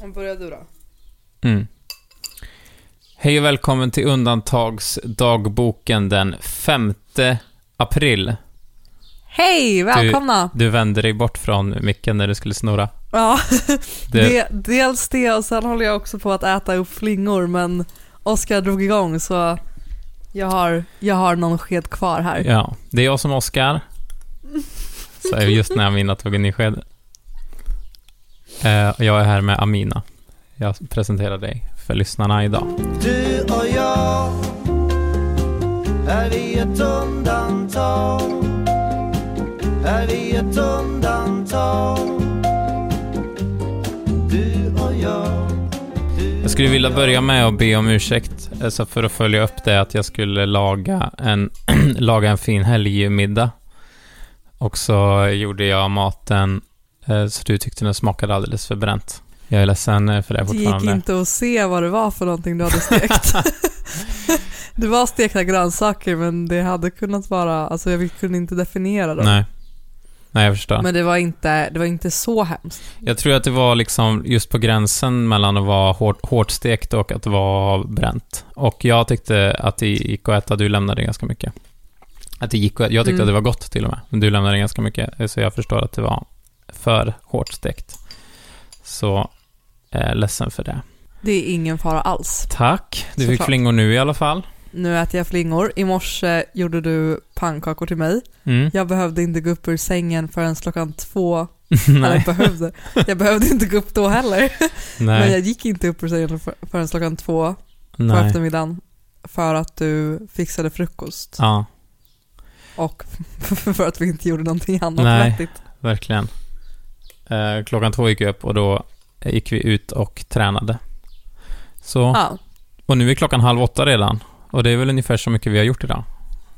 Men Börja du då. Mm. Hej och välkommen till undantagsdagboken den 5 april. Hej, välkomna! Du vände dig bort från micken när du skulle snurra. Ja, Det, det, dels det och sen håller jag också på att äta upp flingor men Oskar drog igång så jag har, jag har någon sked kvar här. Ja, det är jag som Oscar. Så är just när Amina tog en ny sked. Eh, och jag är här med Amina. Jag presenterar dig för lyssnarna idag. Du och jag Är vi ett undantag? Är vi ett undantag? Du och jag du Jag skulle och vilja jag. börja med att be om ursäkt, alltså för att följa upp det, att jag skulle laga en, laga en fin helgmiddag. Och så gjorde jag maten eh, så du tyckte den smakade alldeles för bränt. Jag är ledsen eh, för det Det gick fortfarande. inte att se vad det var för någonting du hade stekt. det var stekta grönsaker men det hade kunnat vara, alltså jag kunde inte definiera dem. Nej. Nej, jag förstår. Men det var, inte, det var inte så hemskt. Jag tror att det var liksom just på gränsen mellan att vara hårt, hårt stekt och att vara bränt. Och jag tyckte att det gick att äta, du lämnade ganska mycket. Att det gick att, jag tyckte Mm. att det var gott till och med, men du lämnade ganska mycket, eh, så jag förstår att det var för hårt stekt. Så eh, ledsen för det. Det är ingen fara alls. Tack, du fick Såklart. flingor nu i alla fall. Nu äter jag flingor. I morse gjorde du pannkakor till mig. Mm. Jag behövde inte gå upp ur sängen förrän klockan två. Eller nej, behövde. Jag behövde inte gå upp då heller. Men nej, jag gick inte upp ur sängen för- förrän klockan två på nej. eftermiddagen. För att du fixade frukost. Ja, Och för att vi inte gjorde någonting annat Nej. vettigt. verkligen. Eh, klockan två gick jag upp och då gick vi ut och tränade. Så... Ja. Och nu är klockan halv åtta redan. Och det är väl ungefär så mycket vi har gjort idag.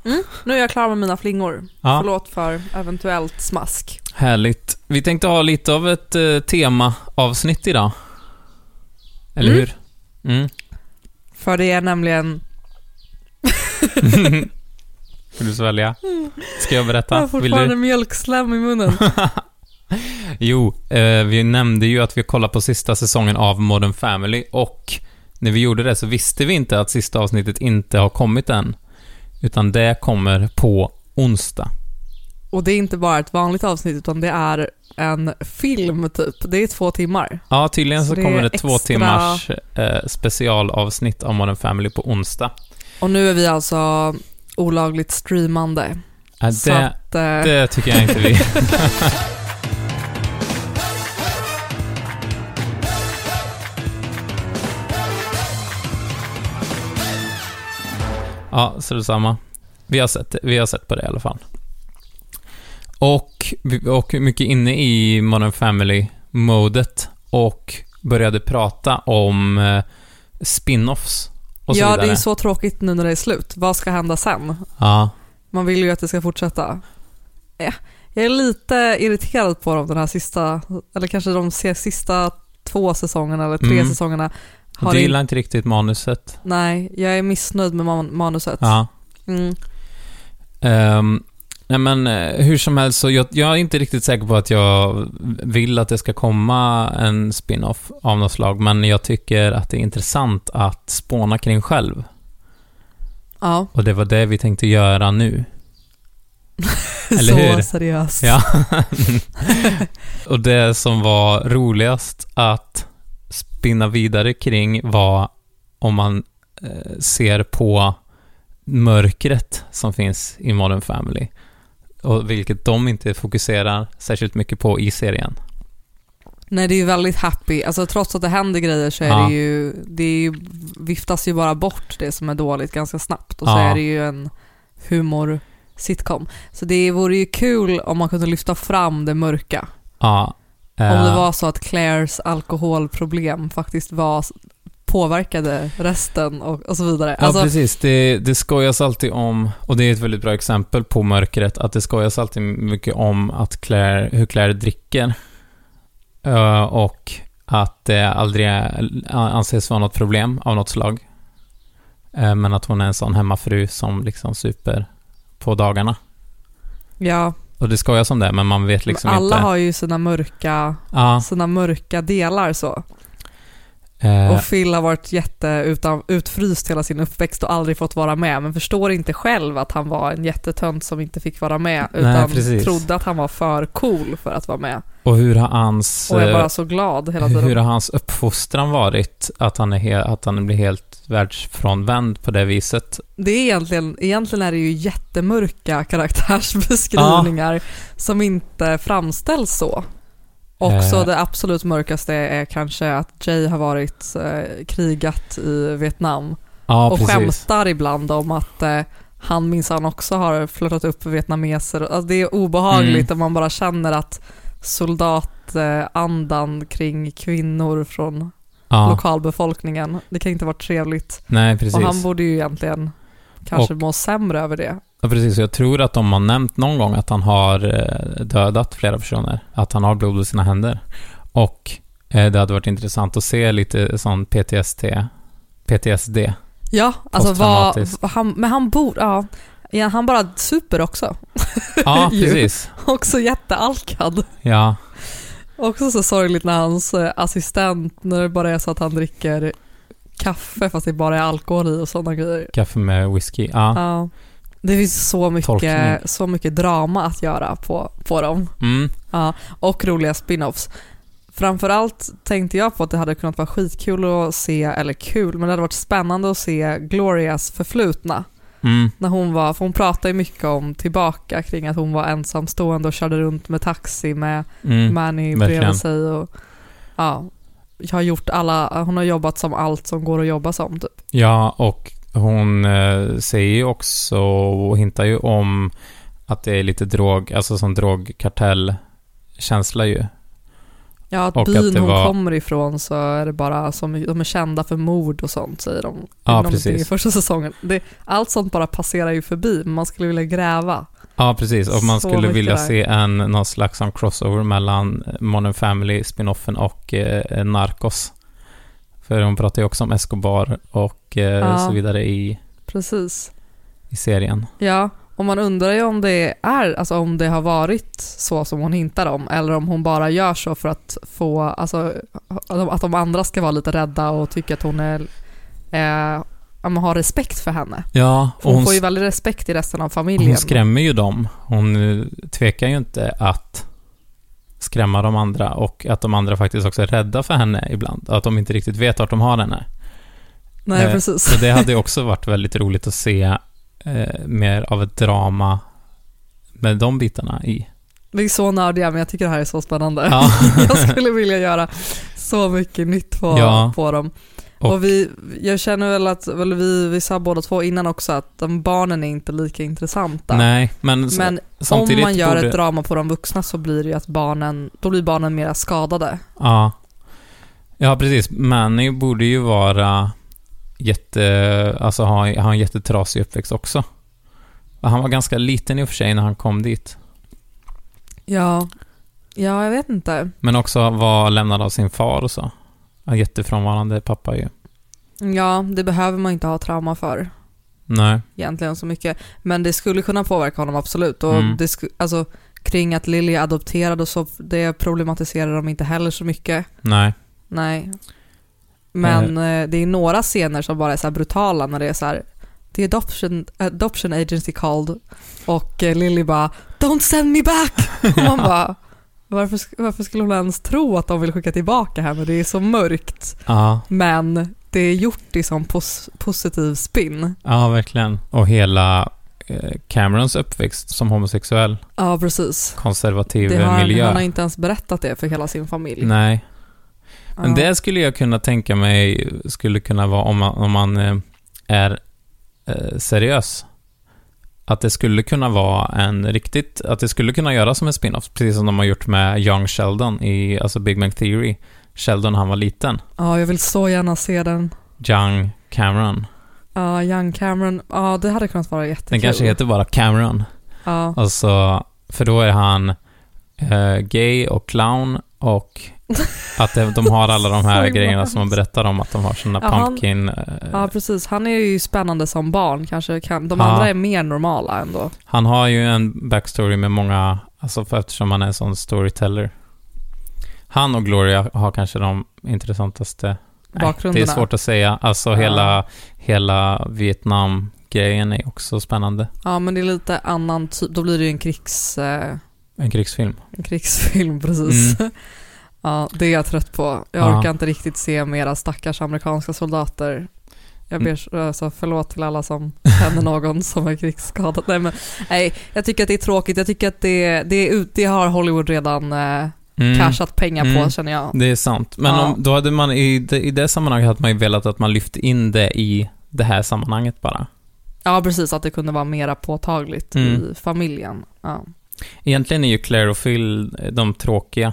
Mm, nu är jag klar med mina flingor. Ja, Förlåt för eventuellt smask. härligt. Vi tänkte ha lite av ett eh, temaavsnitt idag. Eller Mm. hur? Mm. För det är nämligen... Vill du svälja? Ska jag Jag berätta? har Vill fortfarande du? mjölkslem i munnen. Jo, eh, vi nämnde ju att vi kollade på sista säsongen av Modern Family och när vi gjorde det så visste vi inte att sista avsnittet inte har kommit än. Utan det kommer på onsdag. Och det är inte bara ett vanligt avsnitt utan det är en film typ. Det är två timmar. Ja, tydligen så, Så det kommer är det två extra- timmars eh, specialavsnitt av Modern Family på onsdag. Och nu är vi alltså olagligt streamande. Ja, så det, att, eh, det tycker jag inte vi... ja, så det är samma. Vi har, sett, vi har sett på det i alla fall. Och, och mycket inne i Modern Family-modet och började prata om eh, spin-offs och så ja, vidare. det är ju så tråkigt nu när det är slut. Vad ska hända sen? Ja, Man vill ju att det ska fortsätta. Eh, Jag är lite irriterad på dem den här sista, eller kanske de se- sista två säsongerna eller tre Mm. säsongerna. Har du in- gillar inte riktigt manuset. Nej, jag är missnöjd med man- manuset. Ja. Mm. Ehm, nej men eh, hur som helst, så jag, jag är inte riktigt säker på att jag vill att det ska komma en spin-off av något slag, men jag tycker att det är intressant att spåna kring själv. Ja, Och det var det vi tänkte göra nu. Eller så hur? seriöst. Ja. och det som var roligast att spinna vidare kring var om man eh, ser på mörkret som finns i Modern Family. Och vilket de inte fokuserar särskilt mycket på i serien. Nej, det är ju väldigt happy. Alltså, trots att det händer grejer så är Ja. det ju, det är ju, viftas ju bara bort det som är dåligt ganska snabbt och så Ja. är det ju en humor sitcom. Så det vore ju kul om man kunde lyfta fram det mörka. Ja. Om det eh, var så att Claires alkoholproblem faktiskt var påverkade resten och, och så vidare. Ja, Alltså, precis. Det, det skojas alltid om, och det är ett väldigt bra exempel på mörkret, att det skojas alltid mycket om att Claire, hur Claire dricker. Eh, och att det aldrig är, anses vara något problem av något slag. Eh, men att hon är en sån hemmafru som liksom super på dagarna. ja, Och det skojas om det, men man vet liksom alla inte. har ju sina mörka, Ja, sina mörka delar så. Eh, Och Phil har varit jätte utan, utfryst hela sin uppväxt och aldrig fått vara med, men förstår inte själv att han var en jättetönt som inte fick vara med, Nej, utan precis. trodde att han var för cool för att vara med. och hur har hans... och är eh, bara så glad hela Hur tiden. har hans uppfostran varit? Att han, är he- att han blir helt världsfrånvänd på det viset? Det är egentligen, egentligen är det ju jättemörka karaktärsbeskrivningar som inte framställs så. Också Eh. det absolut mörkaste är kanske att Jay har varit eh, krigat i Vietnam. Ja, och precis. skämtar ibland om att eh, han minsann också har flörtat upp vietnameser. Alltså, det är obehagligt Mm. och man bara känner att soldatandan eh, andan kring kvinnor från Ja, lokalbefolkningen, det kan inte vara trevligt. nej, precis. Och han borde ju egentligen kanske må sämre över det. Ja, precis. Och Jag tror att de har nämnt någon gång att han har eh, dödat flera personer. Att han har blod på sina händer. Och eh, det hade varit intressant att se lite sån PTSD. PTSD. Ja, alltså vad, Posttraumatiskt. han, men han borde, ja. ja. Han bara super också. Ja, Ju. precis. också jättealkad. Ja, Också så sorgligt när hans eh, assistent, när det bara är så att han dricker kaffe fast det bara är alkohol i och sådana grejer. kaffe med whisky. Ja. Ja. Det finns så Tolkning. mycket, så mycket drama att göra på, på dem. Mm. Ja. Och roliga spin-offs. Framförallt tänkte jag på att det hade kunnat vara skitkul att se, eller kul, men det hade varit spännande att se Glorias förflutna. Mm. När hon var, för hon pratade ju mycket om tillbaka kring att hon var ensamstående och körde runt med taxi med Mm. Manny verkligen. bredvid sig och ja, jag har gjort alla, hon har jobbat som allt som går att jobba som typ. Ja, och hon eh, säger ju också och hintar ju om att det är lite drog, alltså som drogkartellkänsla ju. Ja, att Och att byn det hon var- kommer ifrån så är det bara som, de är kända för mord och sånt säger de. Ja, Inom precis. det I första säsongen. Det, allt sånt bara passerar ju förbi, men man skulle vilja gräva. Ja, precis. Och man Så skulle mycket vilja där. se en, någon slags som crossover mellan eh, Modern Family, spinoffen och eh, Narcos. För hon pratar ju också om Escobar och eh, Ja. så vidare i, Precis. i serien. Ja, och man undrar ju om det är, alltså om det har varit så som hon hintar om, eller om hon bara gör så för att få, alltså att de- att de andra ska vara lite rädda och tycka att hon är, eh, ja, men har respekt för henne. Ja, För och hon, hon, får ju väldigt respekt i resten av familjen. hon skrämmer ju dem. Hon eh, tvekar ju inte att skrämma de andra och att de andra faktiskt också är rädda för henne ibland. Att de inte riktigt vet vart de har henne. Nej, Eh, precis. Så det hade ju också varit väldigt roligt att se eh, mer av ett drama med de bitarna i. Vi är så nördiga, men jag tycker det här är så spännande. Ja. jag skulle vilja göra så mycket nytt på, Ja. på dem. Och, Och- vi, jag känner väl att, eller vi, vi sa båda två innan också att de barnen är inte lika intressanta. Nej, men, s- Men om samtidigt man gör borde, ett drama på de vuxna så blir det ju att barnen, då blir barnen mera skadade. ja. ja, precis. Manny borde ju vara jätte... Alltså ha, ha en jättetrasig uppväxt också. Han var ganska liten i och för sig när han kom dit. Ja, ja jag vet inte. Men också var lämnad av sin far och så. En jättefrånvarande pappa ju. Ja, det behöver man inte ha trauma för Nej. egentligen så mycket. Men det skulle kunna påverka honom absolut. Och Mm. det sku, alltså, kring att Lily är adopterad och så, det problematiserar de inte heller så mycket. Nej. Nej. Men eh, det är några scener som bara är så här brutala när det är så här The adoption, adoption agency called och eh, Lily bara “Don't send me back!” och man bara varför, sk- varför skulle hon ens tro att de vill skicka tillbaka henne? Det är så mörkt. Ja. Men det är gjort i sån pos- positiv spin. ja, verkligen. Och hela eh, Camerons uppväxt som homosexuell, Ja, precis. konservativ Det har, eh, han, miljö. han har inte ens berättat det för hela sin familj. Nej. Men Ja. det skulle jag kunna tänka mig skulle kunna vara om man, om man eh, är eh, seriös. Att det skulle kunna vara en riktigt, att det skulle kunna göras som en spin-off, precis som de har gjort med Young Sheldon i, alltså Big Bang Theory. Sheldon, han var liten. Ja, jag vill så gärna se den. Young Cameron. Ja, Young Cameron. Ja, det hade kunnat vara jättekul. Den kanske heter bara Cameron. Ja. Alltså, för då är han eh, gay och clown och att de de har alla de här Så grejerna som man hemskt. berättar om, att de har såna Ja, han- pumpkin... eh, Ja, precis. Han är ju spännande som barn kanske. Kan, de Ja. andra är mer normala ändå. Han har ju en backstory med många, alltså för eftersom han är en sån storyteller. Han och Gloria har kanske de intressantaste bakgrunderna. Det är svårt att säga. Alltså Ja. hela, hela Vietnam-grejen är också spännande. Ja, men det är lite annan typ. Då blir det ju en, krigs, eh, En krigsfilm. en krigsfilm precis. Ja, det är jag trött på. Jag Mm. Ja. orkar inte riktigt se mera stackars amerikanska soldater. Mm. Jag ber så- alltså, förlåt till alla som känner någon som är krigsskadad. Nej, men, nej, jag tycker att det är tråkigt. Jag tycker att det, det, är ut, det har Hollywood redan eh, Mm. cashat pengar på Mm. känner jag. Det är sant. Men Ja. om, då hade man i det, i det sammanhanget hade man ju velat att man lyfte in det i det här sammanhanget bara. Ja, precis. Att det kunde vara mera påtagligt Mm. i familjen. Ja. Egentligen är ju Claire och Phil eh, de tråkiga.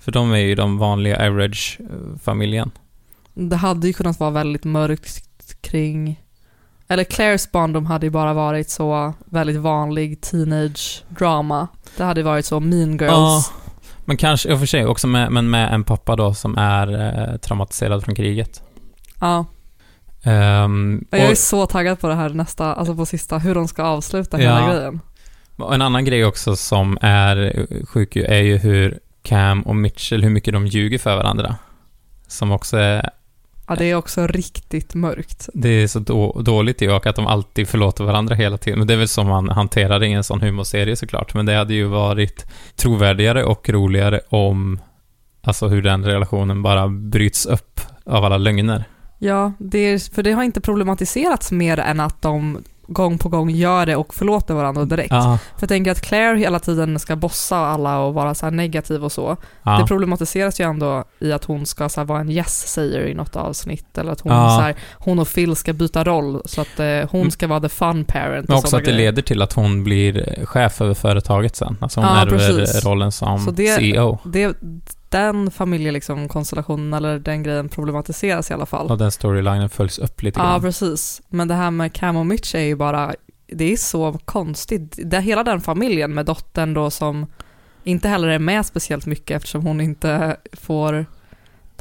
För de är ju de vanliga eh, average-familjen. Det hade ju kunnat vara väldigt mörkt kring... Eller Claires barndom hade ju bara varit så väldigt vanlig teenage drama. Det hade varit så mean girls. Ja. Men kanske, i och för sig, också med, men med en pappa då som är eh, traumatiserad från kriget. Ja. Ehm, Jag är och- så taggad på det här nästa, alltså på sista, hur de ska avsluta Ja. hela grejen. Och En annan grej också som är eh, sjuk ju är ju hur Cam och Mitchell, hur mycket de ljuger för varandra. Som också är, Ja, det är också riktigt mörkt. det är så då, dåligt i och att de alltid förlåter varandra hela tiden. Men det är väl som man hanterar det i en sån humorserie såklart. Men det hade ju varit trovärdigare och roligare om, alltså hur den relationen bara bryts upp av alla lögner. Ja, det är, för det har inte problematiserats mer än att de gång på gång gör det och förlåter varandra direkt. Ja, För jag tänker att Claire hela tiden ska bossa alla och vara så här negativ och så. Det ja, problematiseras ju ändå i att hon ska så här, vara en yes-säger i något avsnitt eller att hon, Ja. Mm. så här, hon och Phil ska byta roll så att eh, hon ska vara the fun parent. men och också sådana att det grejer. leder till att hon blir chef över företaget sen. Alltså hon Ja, ärver precis. rollen Så som E det- CEO. det, den familjekonstellationen eller den grejen problematiseras i alla fall. Och den storylinen följs upp lite Ja, grann. precis. Men det här med Cam och Mitch är ju bara, det är så konstigt. Det, hela den familjen med dottern då som inte heller är med speciellt mycket eftersom hon inte får,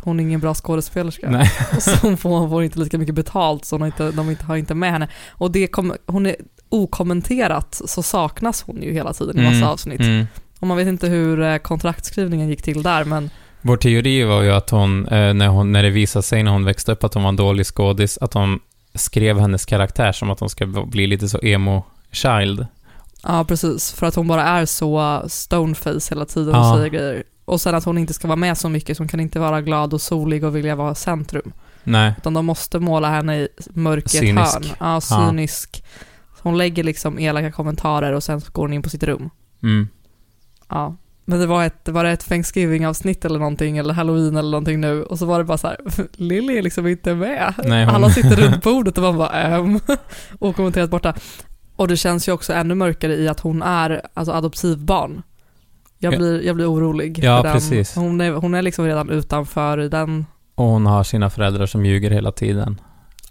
hon är ingen bra skådespelerska. Nej. Så hon får, hon får inte lika mycket betalt så hon har inte, de inte, har inte med henne. Och det kom, hon är okommenterat så saknas hon ju hela tiden i massa Mm, avsnitt. Mm. Och man vet inte hur eh, kontraktskrivningen gick till där men Vår teori var ju att hon, eh, när, hon, när det visade sig när hon växte upp att hon var en dålig skådis, att de skrev hennes karaktär som att hon ska bli lite så emo-child. Ja, precis. För att hon bara är så stoneface hela tiden och Ja. säger grejer. Och sen att hon inte ska vara med så mycket, så hon kan inte vara glad och solig och vilja vara centrum. Nej. Utan de måste måla henne i mörkret Cynisk. hörn. Ja, cynisk. Hon lägger liksom elaka kommentarer och sen så går hon in på sitt rum. Mm. Ja. Men det var ett, var det ett Thanksgiving-avsnitt eller någonting, eller Halloween eller någonting nu, och så var det bara så här, Lily är liksom inte med. Nej, hon- Alla sitter runt bordet och man bara ehm, och kommenterat borta. Och det känns ju också ännu mörkare i att hon är alltså adoptivbarn. Jag Ja. blir, jag blir orolig. Ja, den. precis. Hon är, hon är liksom redan utanför i den, Och hon har sina föräldrar som ljuger hela tiden.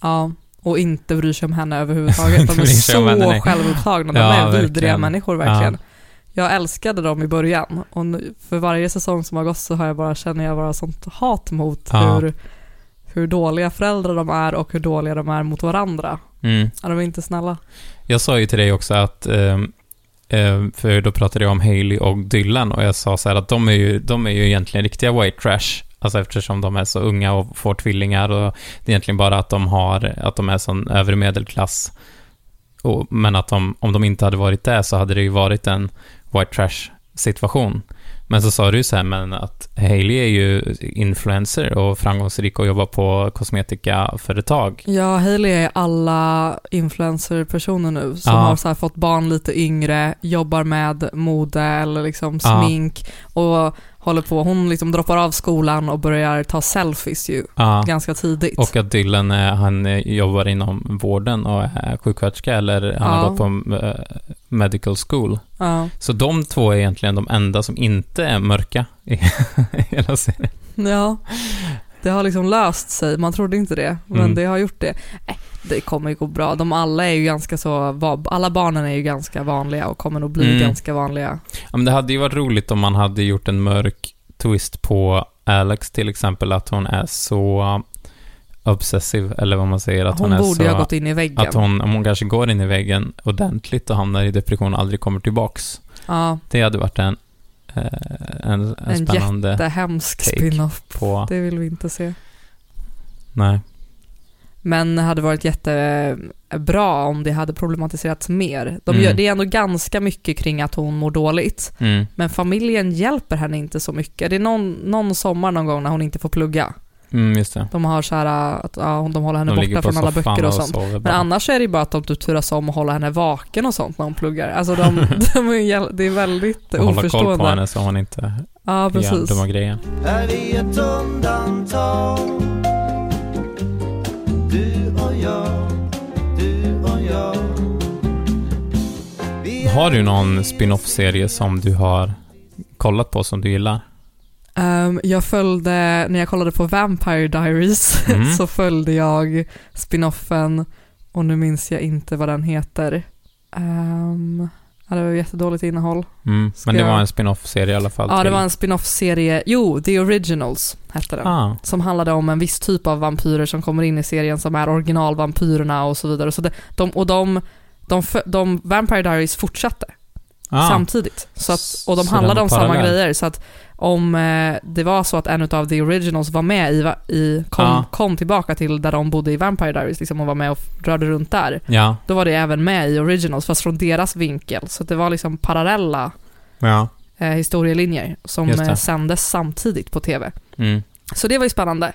ja, och inte bryr sig om henne överhuvudtaget. Inte De är bryr sig om så henne, nej. självupptagna, de Ja, är vidriga verkligen. människor verkligen. Jag älskade dem i början och nu, för varje säsong som har gått så har jag bara, känner jag bara sånt hat mot Ja. hur, hur dåliga föräldrar de är och hur dåliga de är mot varandra. Mm. Ja, de är inte snälla. Jag sa ju till dig också att, ehm, eh, för då pratade jag om Haley och Dylan och jag sa så här att de är ju, de är ju egentligen riktiga white trash. Alltså eftersom de är så unga och får tvillingar och det är egentligen bara att de har, att de är sån övre medelklass. Och, men att de, om de inte hade varit det så hade det ju varit en white trash situation. Men så sa du ju så här, men att Haley är ju influencer och framgångsrik och jobbar på kosmetikaföretag. Ja, Hailey är alla influencer-personer nu som Ja. har så här fått barn lite yngre, jobbar med mode eller liksom Ja. smink och håller på. Hon liksom droppar av skolan och börjar ta selfies ju Ja. ganska tidigt. Och att Dylan, eh, han eh, jobbar inom vården och är sjuksköterska eller han har Ja. gått på eh, medical school. ja. Så de två är egentligen de enda som inte är mörka i hela serien. ja, det har liksom löst sig. Man trodde inte det, men Mm. det har gjort det. Nej, det kommer ju gå bra. De alla är ju ganska så, va- alla barnen är ju ganska vanliga och kommer nog bli Mm. ganska vanliga. Ja, men det hade ju varit roligt om man hade gjort en mörk twist på Alex till exempel, att hon är så obsessiv, eller vad man säger, att hon, hon är borde så... ju ha gått in i väggen. att hon, om hon kanske går in i väggen ordentligt och hamnar i depression och aldrig kommer tillbaks. ja, Det hade varit en, eh, en, en, En spännande det är hemsk Take spin-off. på... Det vill vi inte se. Nej. Men det hade varit jättebra om det hade problematiserats mer. De Mm. gör, det är ändå ganska mycket kring att hon mår dåligt, Mm. men familjen hjälper henne inte så mycket. Det är någon, någon sommar någon gång när hon inte får plugga. Mm, just det. De De har så här, äh, att ja, de håller henne borta från alla böcker och sånt. sover Men bara. annars är det ju bara att de typ turas om och håller henne vaken och sånt när hon pluggar. Alltså de, de är, jäl- det är väldigt och hålla koll på oförstående. henne så hon inte Ja, gör precis. dumma grejer. är vi ett undantag Du och jag, du och jag Vi är Har du någon spin-off-serie som du har kollat på som du gillar? Ehm, jag följde, när jag kollade på Vampire Diaries Mm. så följde jag spinoffen och nu minns jag inte vad den heter. Um, ja, det var jättedåligt innehåll. Mm. Ska Men det jag- var en spin-off-serie i alla fall. Ja, det till- var en spinoff-serie, jo, The Originals hette den. Ah, Som handlade om en viss typ av vampyrer som kommer in i serien som är originalvampyrerna och så vidare. Så det, de, och de, de, fö- de, Vampire Diaries fortsatte. ah. samtidigt. Så att, och de Så handlade den om var samma parallell. grejer. Så att om eh, det var så att en av the originals var med i, va- i kom, Ja. kom tillbaka till där de bodde i Vampire Diaries liksom, och var med och f- rörde runt där, Ja, då var det även med i originals fast från deras vinkel. Så att det var liksom parallella ja. eh, historielinjer som Just det. eh, sändes samtidigt på tv. Mm. Så det var ju spännande.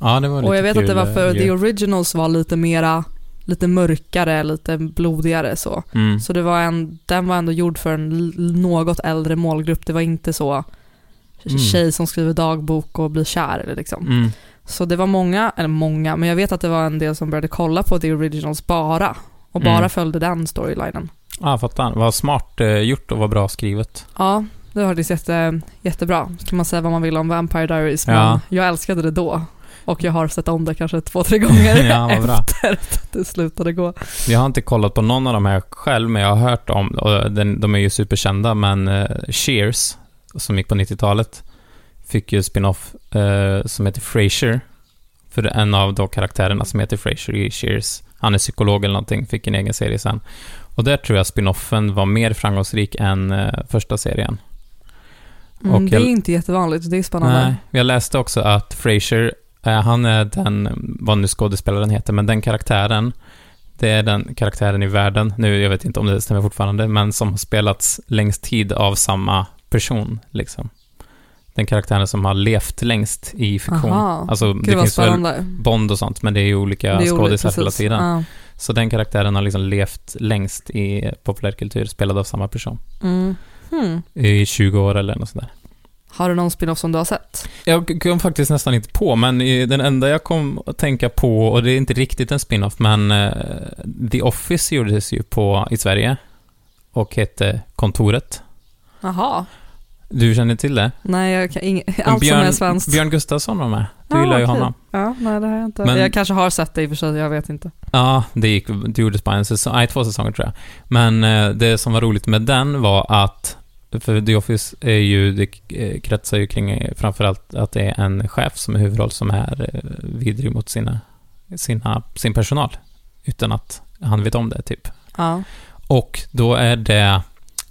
Ja, det var lite Och jag vet kul, att det var för eh, the ju. originals var lite mera lite mörkare, lite blodigare så. Mm. Så det var en, den var ändå gjord för en l- något äldre målgrupp. Det var inte så Mm. tjej som skriver dagbok och blir kär. eller Liksom. Mm. Så det var många, eller många, men jag vet att det var en del som började kolla på The Originals bara och bara Mm. följde den storylinen. Ja, fattar. Vad smart eh, gjort och vad bra skrivet. Ja, det hördes jätte, jättebra. Kan man säga vad man vill om Vampire Diaries, men Ja. jag älskade det då. Och jag har sett om det kanske två, tre gånger Ja, vad bra. efter att det slutade gå. Jag har inte kollat på någon av de här själv, men jag har hört om, och den, de är ju superkända, men eh, Cheers, som gick på 90-talet, fick ju spin-off eh, som heter Frasier. För det är en av då karaktärerna som heter Frasier i Cheers, han är psykolog eller någonting, fick en egen serie sen. Och där tror jag spin-offen var mer framgångsrik än eh, första serien. Mm, Och det är jag- inte jättevanligt, det är spännande. Nej, jag läste också att Frasier, eh, han är den, vad nu skådespelaren heter, men den karaktären, det är den karaktären i världen, nu jag vet inte om det stämmer fortfarande, men som har spelats längst tid av samma person, liksom. Den karaktären som har levt längst i fiktion. Aha. Alltså, Gud det vad finns väl spännande. Bond och sånt, men det är ju olika Det är olika, skådisar hela precis. tiden. Ja. Så den karaktären har liksom levt längst i populärkultur, spelad av samma person. Mm. Hmm. I 20 år eller något sånt där. Har du någon spin-off som du har sett? Jag kom faktiskt nästan inte på, men i- den enda jag kom att tänka på, och det är inte riktigt en spin-off, men eh, The Office gjordes ju på, i Sverige och hette Kontoret. Jaha. Du känner till det? Nej, jag kan ing- allt som är svenskt. Björn Gustafsson var med. Du Ah, gillar ju okej. honom. Ja, nej det har jag inte. Men- jag kanske har sett det i och för sig, jag vet inte. Ja, det, gick, det gjordes bara en säsong, nej, två säsonger tror jag. Men eh, det som var roligt med den var att, för The Office är ju, det eh, kretsar ju kring eh, framförallt att det är en chef som är huvudroll som är eh, vidrig mot sina, sina, sin personal. Utan att han vet om det, typ. Ja. Och då är det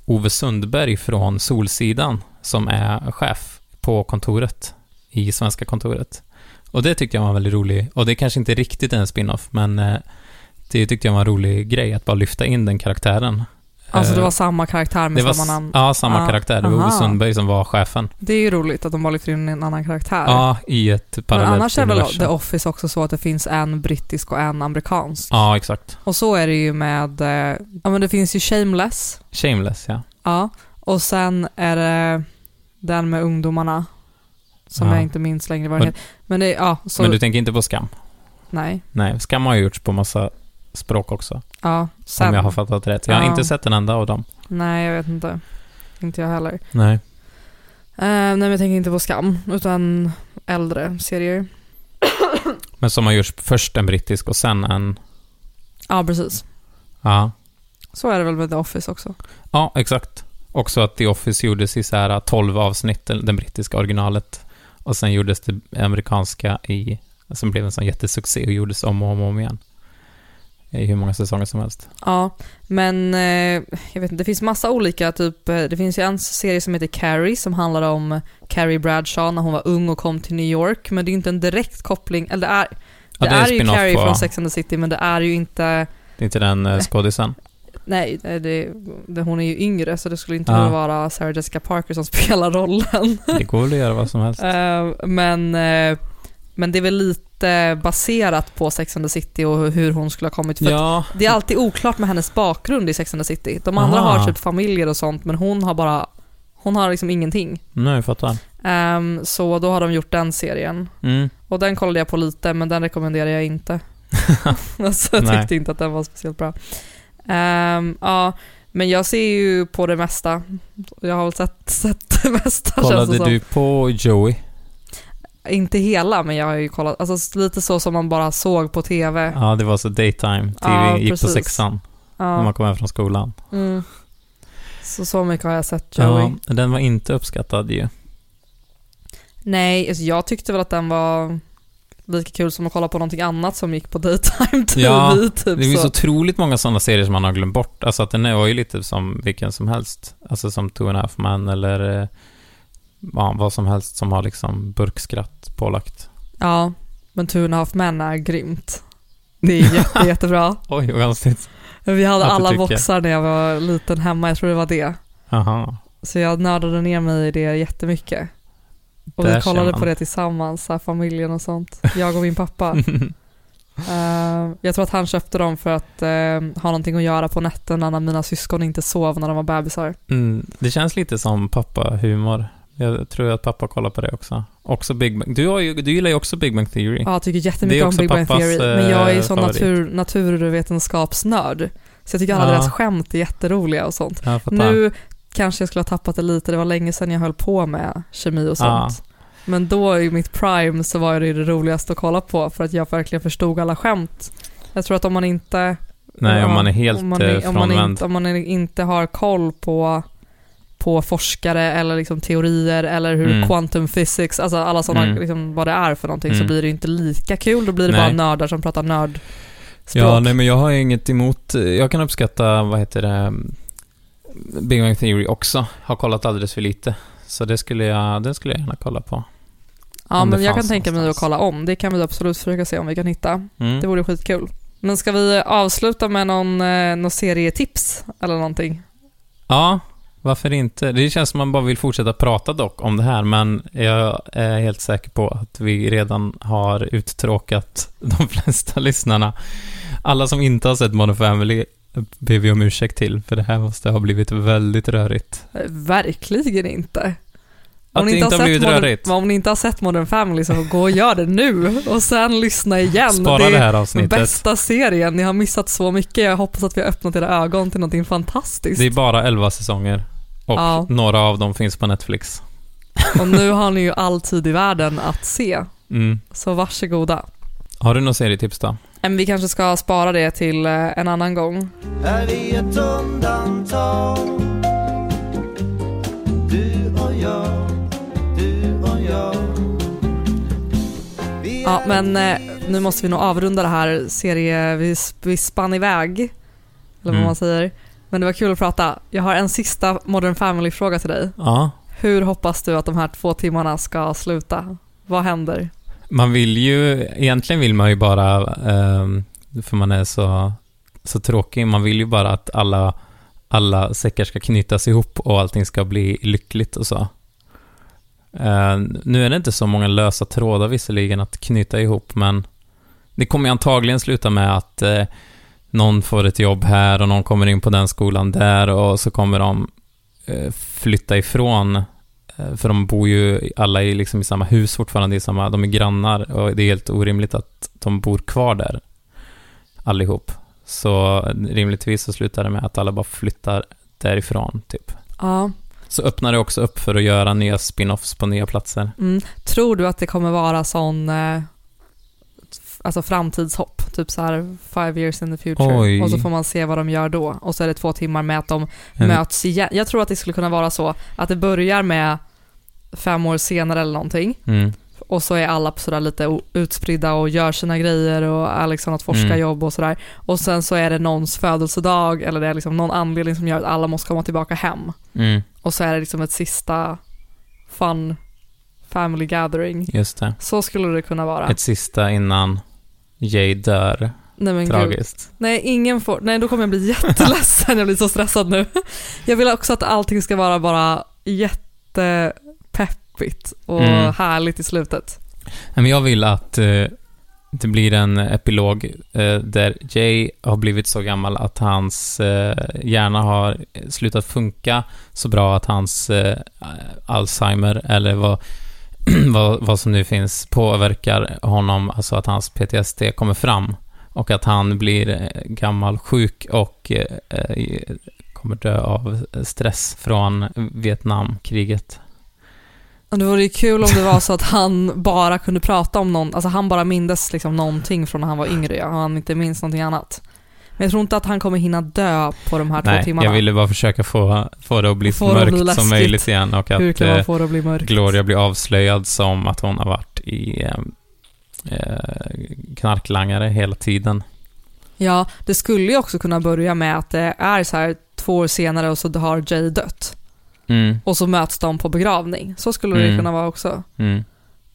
Ove Sundberg från Solsidan som är chef på kontoret, i svenska kontoret. Och det tyckte jag var en väldigt rolig, och det är kanske inte riktigt en spin-off, men eh, det tyckte jag var en rolig grej, att bara lyfta in den karaktären. Alltså det Eh, var samma karaktär med det var samma s- ah. namn. Ja, samma Ja, karaktär. Det var aha. Ove Sundberg som var chefen. Det är ju roligt att de bara lyfter in en annan karaktär. Ja, i ett Men parallellt annars är väl universum. The Office också så att det finns en brittisk och en amerikansk. Ja, exakt. Och så är det ju med, eh, ja men det finns ju Shameless, Shameless, ja. ja. Och sen är det den med ungdomarna, som Ja. jag inte minns längre vad den Ah. Men- heter. Men det, ja, så, Men du tänker inte på Skam? nej. Nej, Skam har ju gjorts på massa språk också, Ja, sen. om jag har fattat rätt. Jag har Ja. inte sett en enda av dem. Nej, jag vet inte. Inte jag heller. Eh, Nej. nej, men jag tänker inte på Skam, utan äldre serier. Men som har gjorts först en brittisk och sen en... Ja, precis. Ja, Så är det väl med The Office också. ja exakt. Också att The Office gjordes i så här 12 avsnitt, den brittiska originalet. Och sen gjordes det amerikanska i... Som blev en sån jättesuccé och gjordes om och om, och om igen. I hur många säsonger som helst. Ja, men eh, jag vet inte, det finns massa olika, typ, eh, det finns ju en serie som heter Carrie som handlar om Carrie Bradshaw när hon var ung och kom till New York, men det är ju inte en direkt koppling, eller det är, Ja, Det, en är, ju spin-off Carrie på- från Sex and the City men det är ju inte, Det är inte den eh, Nej. skådisen. nej, det, det, hon är ju yngre så det skulle inte Ja. vara Sarah Jessica Parker som spelar rollen. Det går väl att göra vad som helst. Eh, men, eh, men det är väl lite baserat på Sex and the City och hur hon skulle ha kommit. För Ja, att det är alltid oklart med hennes bakgrund i Sex and the City. De andra Aha. har typ familjer och sånt men hon har bara, hon har liksom ingenting. nu jag fattar. Ehm, så då har de gjort den serien. Mm. Och den kollade jag på lite, men den rekommenderar jag inte. alltså, jag Nej. tyckte inte att den var speciellt bra. Ehm, ja, men jag ser ju på det mesta. Jag har väl sett, sett det mesta känns det Kollade som. du på Joey? Inte hela, men jag har ju kollat. Alltså lite så som man bara såg på TV. Ja, det var så daytime TV, Ja, gick på precis. sexan när man Ja. kom hem från skolan. Mm. Så, så mycket har jag sett Joey. Ja, den var inte uppskattad ju. Nej, alltså, jag tyckte väl att den var lika kul som att kolla på någonting annat som gick på daytime TV. Ja, typ, det finns så. otroligt många sådana serier som man har glömt bort. Alltså att den var ju lite som vilken som helst. Alltså som Two and a Half Man eller eh, ja, vad som helst som har liksom burkskratt pålagt. Ja, men Two and a half men är grymt. Det är jätte, jättebra. Oj, vad konstigt. Vi hade Att du alla tycker. boxar när jag var liten hemma, jag tror det var det. Aha. Så jag nördade ner mig i det jättemycket. Och Där vi ser kollade man. på det tillsammans, så här, familjen och sånt. Jag och min pappa. Eh, jag tror att han köpte dem för att eh, ha någonting att göra på nätterna när mina syskon inte sov när de var bebisar. Mm, det känns lite som pappahumor. Jag tror att pappa kollar på det också. Också Big Bang. Du, har ju, du gillar ju också Big Bang Theory. Ja, jag tycker Det är jättemycket om också Big Bang pappas, Theory, men jag är ju eh, sån favorit. natur, naturvetenskapsnörd. Så jag tycker alla Ja. deras skämt är jätteroliga och sånt. Jag fattar. Nu kanske jag skulle ha tappat det lite, det var länge sedan jag höll på med kemi och Ja. sånt. Men då i mitt prime så var det ju det roligaste att kolla på för att jag verkligen förstod alla skämt. Jag tror att om man inte... Nej, om ja, man är helt om man, eh, är- om man, frånvänd. inte, om man inte har koll på, på forskare eller liksom teorier eller hur Mm. quantum physics, alltså alla sådana, Mm. liksom, vad det är för någonting, så Mm. blir det ju inte lika kul. Då blir det Nej. bara nördar som pratar nördspråk. Ja, nej men jag har ju inget emot, jag kan uppskatta, vad heter det, Big Bang Theory också. Har kollat alldeles för lite. Så det skulle jag, det skulle jag gärna kolla på. ja om det men jag kan fanns tänka mig att någonstans. kolla om. Det kan vi absolut försöka se om vi kan hitta. Mm. Det vore skitkul. Men ska vi avsluta med någon, eh, någon serietips eller någonting? Ja, varför inte? Det känns som man bara vill fortsätta prata dock om det här, men jag är helt säker på att vi redan har uttråkat de flesta lyssnarna. Alla som inte har sett Modern Family ber vi om ursäkt till, för det här måste ha blivit väldigt rörigt. Eh, Verkligen inte. Att det inte har blivit sett rörigt. Modern, om ni inte har sett Modern Family så gå och gör det nu och sen lyssna igen. Spara det det, är här den avsnittet. bästa serien. Ni har missat så mycket. Jag hoppas att vi har öppnat era ögon till någonting fantastiskt. Det är bara 11 säsonger och Ja. några av dem finns på Netflix. Och nu har ni ju all tid i världen att se. Mm. Så varsågoda. Har du några serietips då? Men vi kanske ska spara det till eh, en annan gång. Är vi ett undantag? Du och jag, du och jag Vi Ja, är men eh, nu måste vi nog avrunda det här serie... Vi, vi spann iväg, eller vad Mm. man säger. Men det var kul att prata. Jag har en sista Modern Family-fråga till dig. Ja. Hur hoppas du att de här två timmarna ska sluta? Vad händer? Man vill ju, egentligen vill man ju bara, ehm, för man är så, så tråkig, man vill ju bara att alla, alla säckar ska knytas ihop och allting ska bli lyckligt och så. Eh, nu är det inte så många lösa trådar visserligen att knyta ihop, men det kommer ju antagligen sluta med att eh, någon får ett jobb här och någon kommer in på den skolan där och så kommer de eh, flytta ifrån Eh, För de bor ju alla i, liksom i samma hus fortfarande, i samma, de är grannar och det är helt orimligt att de bor kvar där allihop. Så eh, rimligtvis så slutar det med att alla bara flyttar därifrån typ. Ja, Så öppnar det också upp för att göra nya spin-offs på nya platser. mm. Tror du att det kommer vara sån eh, f- alltså framtidshopp? Typ så här five years in the future. Oj. Och så får man se vad de gör då. Och så är det två timmar med att de En- möts igen. Jag tror att det skulle kunna vara så att det börjar med fem år senare eller någonting Mm. och så är alla sådär lite o- utspridda och gör sina grejer och är liksom något Mm. forskarjobb och sådär. Och sen så är det någons födelsedag eller det är liksom någon anledning som gör att alla måste komma tillbaka hem. Mm. Och så är det liksom ett sista fun family gathering. Just det. Så skulle det kunna vara. Ett sista innan Jay dör. Nej men gud. Tragiskt. Nej, ingen får, nej då kommer jag bli jätteledsen, jag blir så stressad nu. Jag vill också att allting ska vara bara jättepeppigt och Mm. härligt i slutet. Nej, Men jag vill att eh, det blir en epilog eh, där Jay har blivit så gammal att hans eh, hjärna har slutat funka så bra att hans eh, Alzheimer, eller vad, vad, vad som nu finns, påverkar honom, alltså att hans PTSD kommer fram. Och att han blir eh, gammal, sjuk och eh, eh, kommer dö av stress från Vietnamkriget. Och det vore ju kul om det var så att han bara kunde prata om någon, alltså han bara mindes liksom någonting från när han var yngre ja, och han inte minns någonting annat. Men jag tror inte att han kommer hinna dö på de här två Nej, timmarna. jag ville bara försöka få, få det att bli så Få det att bli mörkt läskigt. som möjligt igen och Hur att kan man eh, få det att bli mörkt? Gloria blir avslöjad som att hon har varit i eh, eh, knarklangare hela tiden. Ja, det skulle ju också kunna börja med att det är så här två år senare och så har Jay dött. Mm, Och så möts de på begravning. Så skulle det Mm. ju kunna vara också. mm,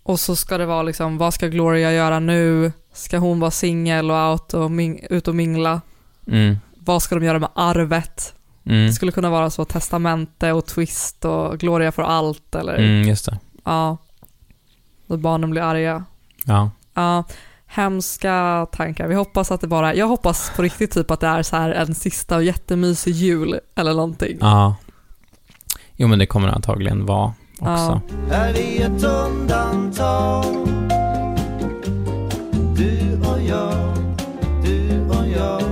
Och så ska det vara liksom, vad ska Gloria göra nu? Ska hon vara singel och out och ming- ut och mingla? mm, Vad ska de göra med arvet? mm, Det skulle kunna vara så testamente och twist och Gloria får allt eller mm, just det. ja. Då barnen blir arga. Ja. Ja, hemska tankar. Vi hoppas att det bara, jag hoppas på riktigt typ att det är så här en sista och jättemysig jul eller någonting. ja. Jo, men det kommer det antagligen vara också. Är vi ett undantag? Du och jag, du och jag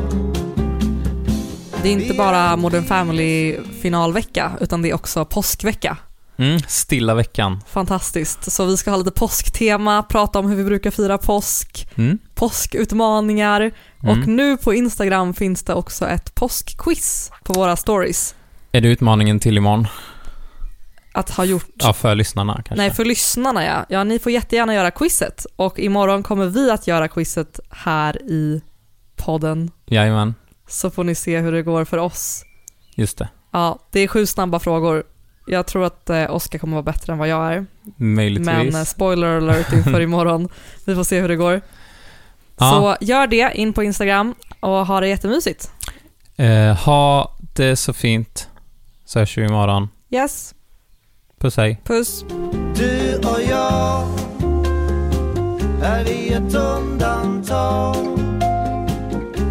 Det är inte bara Modern Family finalvecka utan det är också påskvecka. Mm, stilla veckan. Fantastiskt. Så vi ska ha lite påsktema, prata om hur vi brukar fira påsk, Mm, påskutmaningar mm. och nu på Instagram finns det också ett påskquiz på våra stories Är det utmaningen till imorgon? att ha gjort. Ja, för lyssnarna kanske. Nej, för lyssnarna ja. Ja, ni får jättegärna göra quizet och imorgon kommer vi att göra quizet här i podden Jajamän, så får ni se hur det går för oss. just det. Ja, det är sju snabba frågor. Jag tror att eh, Oskar kommer vara bättre än vad jag är. Möjligtvis. Men eh, spoiler alert inför imorgon. Vi får se hur det går. Ja. Så gör det, in på Instagram och ha det jättemysigt. Eh, ha det så fint, så hörs vi imorgon. Yes, Puss hej. puss. Du och jag Är vi ett undantag?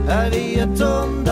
Är vi ett undantag?